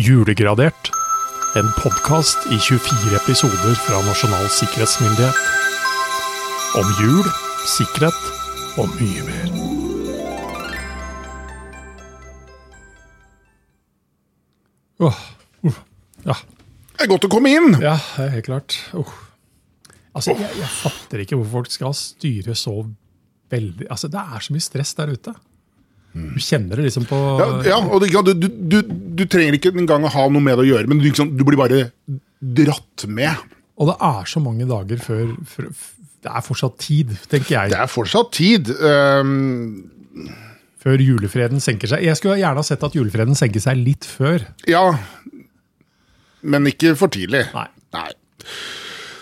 Julegradert. En podkast i 24 episoder fra Nasjonal sikkerhetsmyndighet. Om jul, sikkerhet og mye mer. Åh, uff, ja, Det er godt å komme inn! ja, det er helt klart. Åh. Altså, jeg, jeg fatter ikke hvorfor folk skal styre så veldig Altså, Det er så mye stress der ute. Du kjenner det liksom på Ja, ja og det, ja, du, du, du, du trenger ikke engang å ha noe med det å gjøre, men du, liksom, du blir bare dratt med. Og det er så mange dager før, før Det er fortsatt tid, tenker Det jeg. er fortsatt tid. Ehm, Før julefreden senker seg. Jeg skulle gjerne ha sett at julefreden senker seg litt før. ja, men ikke for tidlig. Nei. Nei.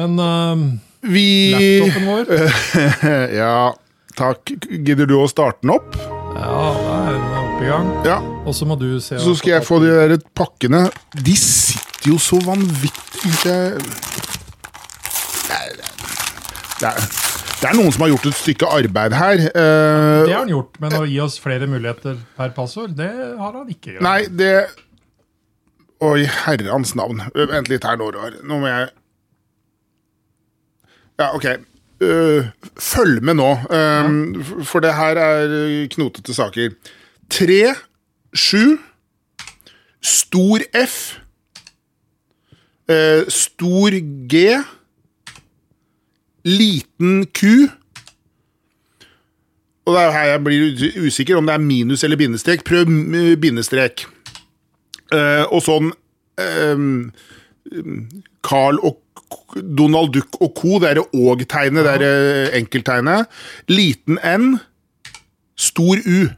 Men øhm, Vi laptopen vår Ja, Ja, takk. Gidder du å starte den opp? det er en opp i gang. Ja. Og så må du se Så skal jeg få de der pakkene. De sitter jo så vanvittig Det er, det er, det er noen som har gjort et stykke arbeid her. eh, Det har han gjort, men å gi oss flere muligheter per passord, det har han ikke gjort. Nei, det Oi, herrens navn. Ø, Vent litt her, nå, Roar. Nå må jeg Ja, OK. Ø, følg med nå, øhm, f- for det her er ø, knotete saker. Tre, sju, stor F, eh, stor G, liten Q og det er jo her jeg blir ut- usikker om det er minus eller bindestrek. Prøv mm, bindestrek. Eh, og sånn ehm, Carl og K- Donald Duck og co., det er og-tegnet, det er eh, enkelttegnet. Liten n, stor u.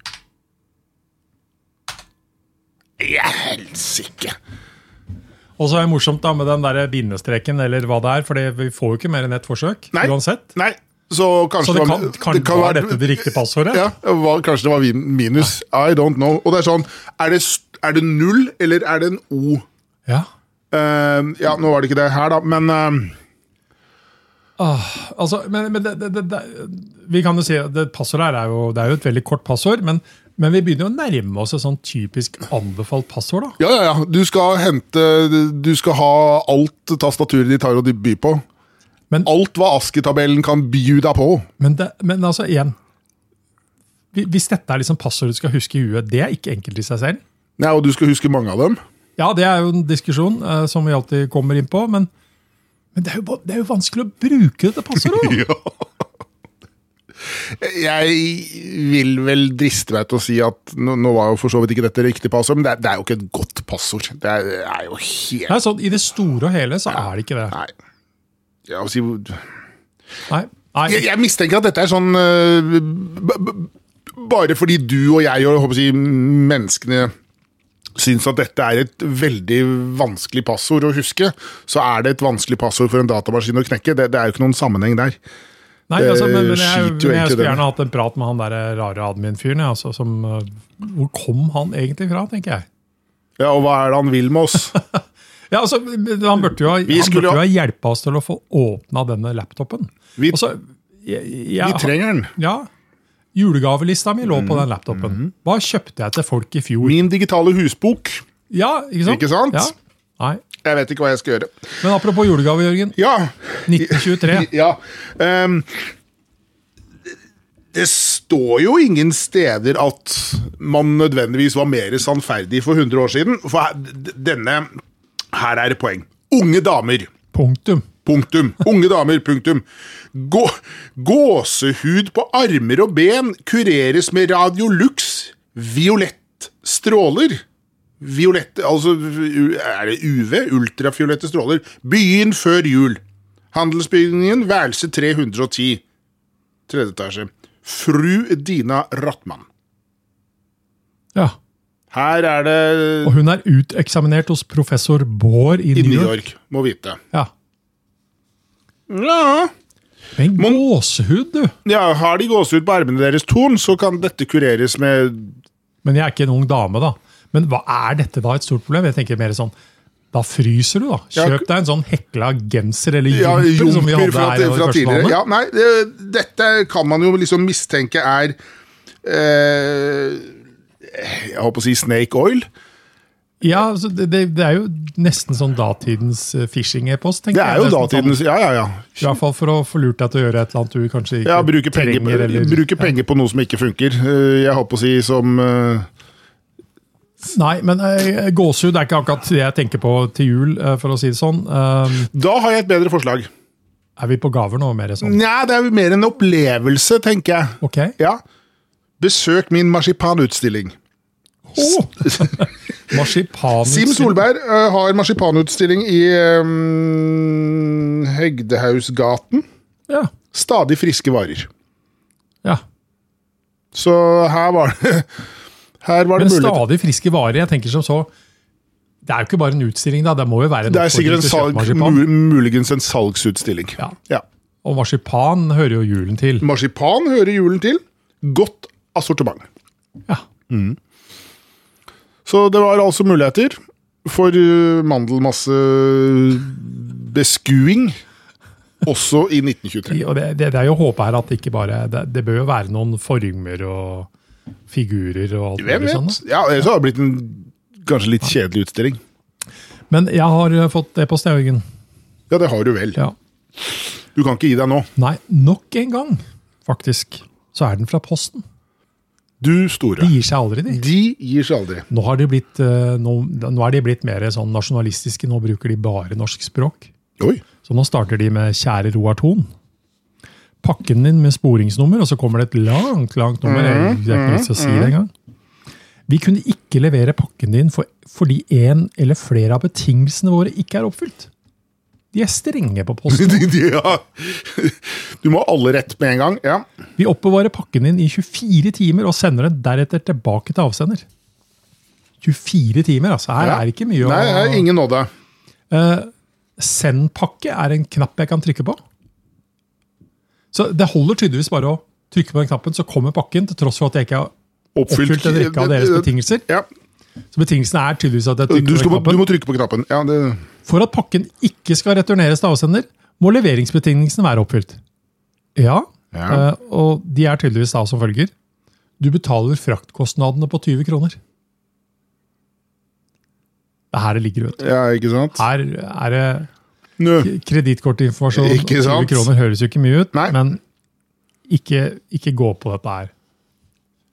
Jeg er helsike! Og så er det morsomt da med den der bindestreken, eller hva det er, for vi får jo ikke mer enn ett forsøk Nei. uansett. Nei, så kanskje Så det var- kan, kan, det kan var være- dette det riktige passordet? Ja, det var, kanskje det var vi- minus. I don't know. Og det er sånn, er det, st- er det null, eller er det en O? ja. Eh, ja, nå var det ikke det her, da, men eh, Altså, men, men det, det, det, det, vi kan jo si at det passordet her er jo, det er jo et veldig kort passord, men, men vi begynner jo å nærme oss et sånn typisk anbefalt passord. da. Ja, ja, ja. Du skal hente Du skal ha alt tastaturet ditt har å by på. Men- alt hva ASCII-tabellen kan by deg på. Men, det, men altså, igjen hvi- Hvis dette er liksom passordet du skal huske i huet, det er ikke enkelt i seg selv. Nei, og du skal huske mange av dem. Ja, det er jo en diskusjon eh, som vi alltid kommer inn på, men, men det, er jo, ba- det er jo vanskelig å bruke dette passordet! da. Ja. Jeg vil vel driste meg til å si at nå, nå var jo for så vidt ikke dette riktig passord, men det er, det er jo ikke et godt passord. Det er, det er jo helt Nei, sånn, I det store og hele så er det ikke det. Nei. Jeg, vil si, Nei. Nei. jeg, jeg mistenker at dette er sånn øh, b- b- Bare fordi du og jeg og jeg håper å si, menneskene syns at dette er et veldig vanskelig passord å huske, så er det et vanskelig passord for en datamaskin å knekke. Det, det er jo ikke noen sammenheng der. Nei, altså, men, men jeg, skiter men jeg jo egentlig skulle den. gjerne hatt en prat med han der eh, rare admin-fyren. jeg, Altså, som, eh, hvor kom han egentlig fra, tenker jeg. Ja, Og hva er det han vil med oss? Ja, altså, Han burde jo ha, han skulle burde jo ha jo- hjulpet oss til å få åpna denne laptopen. Vi, Altså, jeg, vi jeg, trenger den. ja, Julegavelista mi lå Mm. på den laptopen. Mm-hmm. Hva kjøpte jeg til folk i fjor? Min digitale husbok. Ja, ikke sant? Ikke sant? Ja. Nei. Jeg vet ikke hva jeg skal gjøre. Men apropos julegave, Jørgen. Ja, 1923. ja. ehm, det står jo ingen steder at man nødvendigvis var mer sannferdig for 100 år siden. For her- d- denne Her er det poeng. Unge damer. Punktum. Punktum. Unge damer, punktum. Gå, gåsehud på armer og ben kureres med Radiolux violett stråler. Violett, altså u- er det UV? Ultrafiolette stråler. Begynn før jul. Handelsbygningen, værelse 310. Tredje etasje. Fru Dina Rattmann. Ja. Her er det Og hun er uteksaminert hos professor Baar i i New New York. York, må vite. Ja. Ja. Men gåsehud, du! ja, Har de gåsehud på armene deres, Torn, så kan dette kureres med Men jeg er ikke en ung dame, da. Men hva er dette da et stort problem? Jeg tenker mer sånn, Da fryser du, da. Ja, Kjøp deg en sånn hekla genser eller Ja, jumper, som vi jumper hadde fra, her. i fra tidligere. første Ja, nei, det, dette kan man jo liksom mistenke er eh, Jeg holdt på å si snake oil. Ja, altså, det, det, det er jo nesten sånn datidens eh, phishing-e-post. tenker Det er jeg. jo sånn datidens Ja, ja, ja. I hvert fall for å få lurt deg til å gjøre et eller annet du kanskje ikke ja bruke, penger, trenger. eller- bruke penger på noe som ikke funker. Eh, Jeg holdt på å si som eh, Nei, men eh, gåsehud er ikke akkurat det jeg tenker på til jul, eh, for å si det sånn. Eh, Da har jeg et bedre forslag. er vi på gaver nå, mer sånn? Nei, det er jo mer en opplevelse, tenker jeg. Ok. Ja. Besøk min marsipanutstilling. Oh! Marsipan Sim Solberg ø, har marsipanutstilling i eh, ø, Hegdehausgaten. Ja. Stadig friske varer. ja. Så her var det Her var Men det mulig. stadig friske varer. Jeg tenker som så Det er jo ikke bare en utstilling, da. Det må jo være en Det er sikkert en oppfordring til å kjøpe salg, marsipan. mul- muligens en salgsutstilling. Ja. Ja. Og marsipan hører jo julen til. Mm. Marsipan hører julen til. Godt assortiment. Ja. Så det var altså muligheter for eh, ø, mandelmassebeskuing også i 1923. Og det, det, det er jo håpet her at det ikke bare det, det bør jo være noen former og figurer og alt Hvem mulig sånn. vet? da. Ja, ellers hadde det blitt en kanskje litt kjedelig utstilling. Men jeg har eh, fått e-post, jeg, Jørgen. Ja, det har du vel. Ja. Du kan ikke gi deg nå. Nei, nok en gang, faktisk, så er den fra Posten. Du store. De gir seg aldri, de. De gir seg aldri. Nå, har de blitt, eh, nå, nå er de blitt mer sånn nasjonalistiske. Nå bruker de bare norsk språk. Oi. Så nå starter de med 'Kjære Roar Thon'. Pakken din med sporingsnummer, og så kommer det et langt langt nummer. Jeg, jeg har ikke lyst til å si det engang. Vi kunne ikke levere pakken din for, fordi en eller flere av betingelsene våre ikke er oppfylt. De er strenge på posten. De, de, ja. Du må ha alle rett med en gang. Ja. Vi oppbevarer pakken din i 24 timer og sender den deretter tilbake til avsender. 24 timer, altså. Her Ja. er det ikke mye å Nei, her er ingen nåde. Send-pakke er en knapp jeg kan trykke på. Så det holder tydeligvis bare å trykke på den knappen, så kommer pakken, til tross for at jeg ikke har oppfylt en rekke av deres betingelser. Ja. Så betingelsene er tydeligvis at jeg Du, trykker på den skal, må- du knappen. må trykke på knappen. Ja, det, For at pakken ikke skal returneres til avsender, må leveringsbetingelsene være oppfylt. Ja, Ja. eh, og de er tydeligvis da som følger. Du betaler fraktkostnadene på 20 kroner. Det er her det ligger, vet du. ja ikke sant? Her er det Nå. Kredittkortinformasjon og Ikke 20 sant? kroner høres jo ikke mye ut, Nei. men ikke, ikke gå på dette her,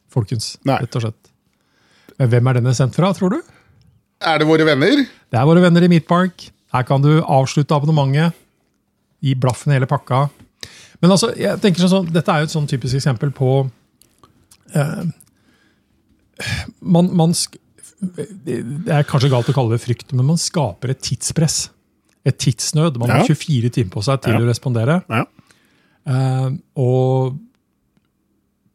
folkens. Nei. Rett og slett. Men hvem er denne sendt fra, tror du? Er det våre venner? Det er våre venner i Meatpark. Her kan du avslutte abonnementet. Gi blaffen i hele pakka. Men altså, jeg tenker sånn, sånn, dette er jo et sånn typisk eksempel på eh, man, man sk Det det er kanskje galt å kalle det frykt, men man skaper et tidspress. Et tidsnød. Man har Ja. 24 timer på seg til å respondere. Ja. Eh, og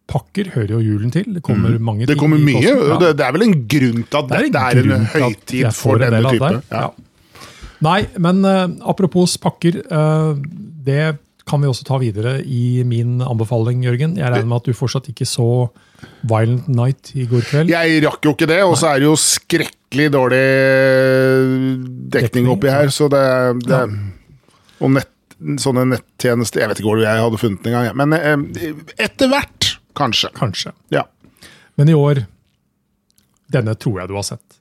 pakker hører jo julen til. Det kommer mange Mm. Det ting kommer i mye. posten. Ja. Det, det er vel en grunn til at Det dette er en, grunn til at høytid jeg for får en del denne av type. det der. Ja. Nei, men eh, apropos pakker. eh, det kan vi også ta videre i min anbefaling, Jørgen. Jeg regner med at du fortsatt ikke så Violent Night i går kveld. Jeg rakk jo ikke det, og så er det jo skrekkelig dårlig dekning Dekning, oppi her, så det, det Og nett, sånne nettjenester Jeg vet ikke hvor jeg hadde funnet den engang, jeg, men eh, etter hvert, kanskje. Kanskje. Ja. Men i år Denne tror jeg du har sett.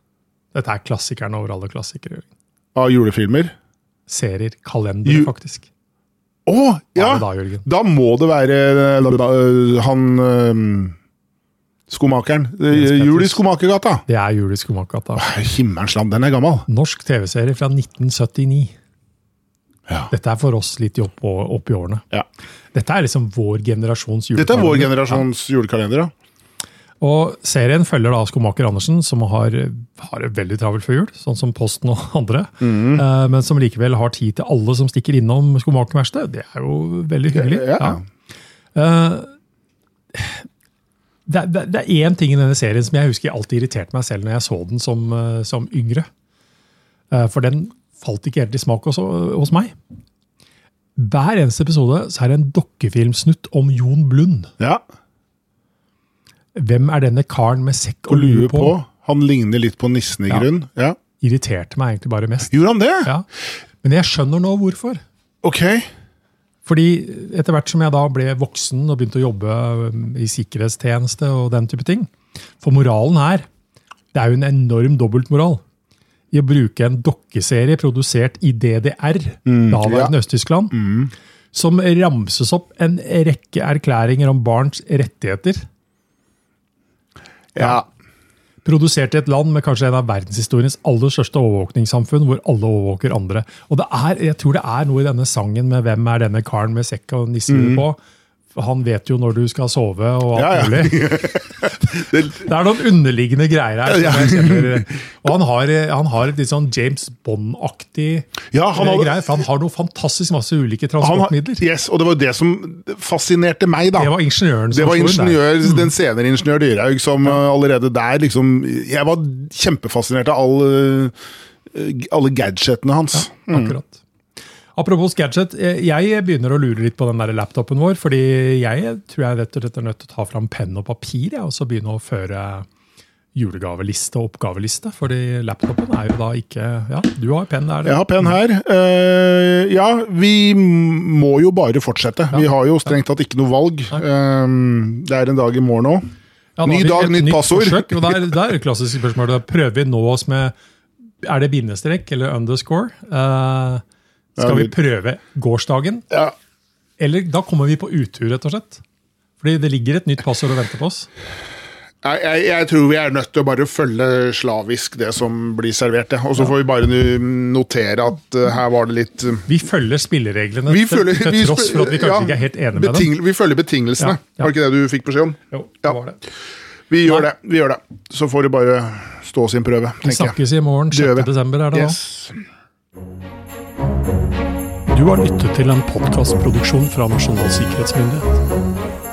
Dette er klassikeren over alle klassikere. Jørgen. Av julefilmer. Serier, kalender, Ju- faktisk. Å, Hva ja! er det da, Jørgen? Da må det være eh, da, da, eh, han eh, Skomakeren. Eh, Jens Jul i Petters. Skomakergata. Det er Jul i Skomakergata. Himmelens land, den er gammel. Norsk TV-serie fra 1979. Ja. Dette er for oss litt opp, opp i årene. Ja. Dette er liksom vår generasjons julekalender. Dette er vår generasjons julekalender, ja. Og serien følger da skomaker Andersen, som har, har det veldig travelt før jul, sånn som Posten og andre, Mhm. eh, men som likevel har tid til alle som stikker innom skomakerverkstedet. Det er jo veldig hyggelig. Ja, ja. Eh, det, er- det, er- det er én ting i denne serien som jeg husker jeg alltid irriterte meg selv når jeg så den som, eh, som yngre. Eh, For den falt ikke helt i smak hos, hos meg. Hver eneste episode så er det en dokkefilmsnutt om Jon Blund. ja. Hvem er denne karen med sekk Og og lue på. Han ligner litt på nissen i Ja. grunn. Ja. irriterte meg egentlig bare mest. Gjorde han det? Ja. Men jeg skjønner nå hvorfor. Ok. Fordi etter hvert som jeg da ble voksen og begynte å jobbe um, i sikkerhetstjeneste og den type ting For moralen her, det er jo en enorm dobbeltmoral. i å bruke en dokkeserie produsert i DDR, daværende Øst-Tyskland, som ramses opp en rekke erklæringer om barns rettigheter. Ja. Produsert i et land med kanskje en av verdenshistoriens aller største overvåkningssamfunn, hvor alle overvåker andre. Og det er, jeg tror det er noe i denne sangen med 'Hvem er denne karen med sekk og nissehue på?' Han vet jo når du skal sove og alt Mm. Ja, ja. mulig. Det- Det er noen underliggende greier her. som Ja. jeg kjenner. Og han har, han har et litt sånn James Bond-aktig Ja, han hadde- greie, for han har noe fantastisk masse ulike han har- transportmidler. yes, og det var jo det som fascinerte meg, da. Det var ingeniøren Det som var slo inn der. ingeniør, den senere ingeniør Dyrhaug som uh, allerede der liksom Jeg var kjempefascinert av all, uh, g- alle gadgetene hans. Akkurat. Apropos gadget, eh, jeg begynner å lure litt på den der laptopen vår. fordi jeg tror jeg rett og slett er nødt til å ta fram penn og papir jeg, og så begynne å føre julegaveliste og oppgaveliste. fordi laptopen er jo da ikke Ja, Mm. du har penn der. Jeg har pen her. Uh, ja, vi m- må jo bare fortsette. Vi har jo strengt tatt ikke noe valg. Um, det er en dag i morgen òg. Ja, da Ny har vi dag, et nytt passord. Forsøk, og der, der er det klassiske spørsmålet. Prøver vi nå oss med Er det bindestrek eller underscore? Eh, skal Ja, vi vi- prøve gårsdagen? Ja. Eller da kommer vi på utur, rett og slett. Fordi det ligger et nytt passord og venter på oss. Jeg, jeg, jeg tror vi er nødt til å bare følge slavisk det som blir servert. Ja. Og så får vi bare nu- notere at uh, her var det litt uh, Vi følger spillereglene vi til, følger- til vi tross spør- for at vi kanskje ja, ikke er helt enige med dem. beting- Vi følger betingelsene. Ja, ja. Var det ikke det du fikk beskjed om? Jo, det Ja. var det. Vi gjør det. vi gjør det. Så får det bare stå sin prøve, Vi tenker jeg. snakkes i morgen, Det gjør 6. vi. desember er det da. Yes. Du har lyttet til en podkastproduksjon fra Nasjonal sikkerhetsmyndighet.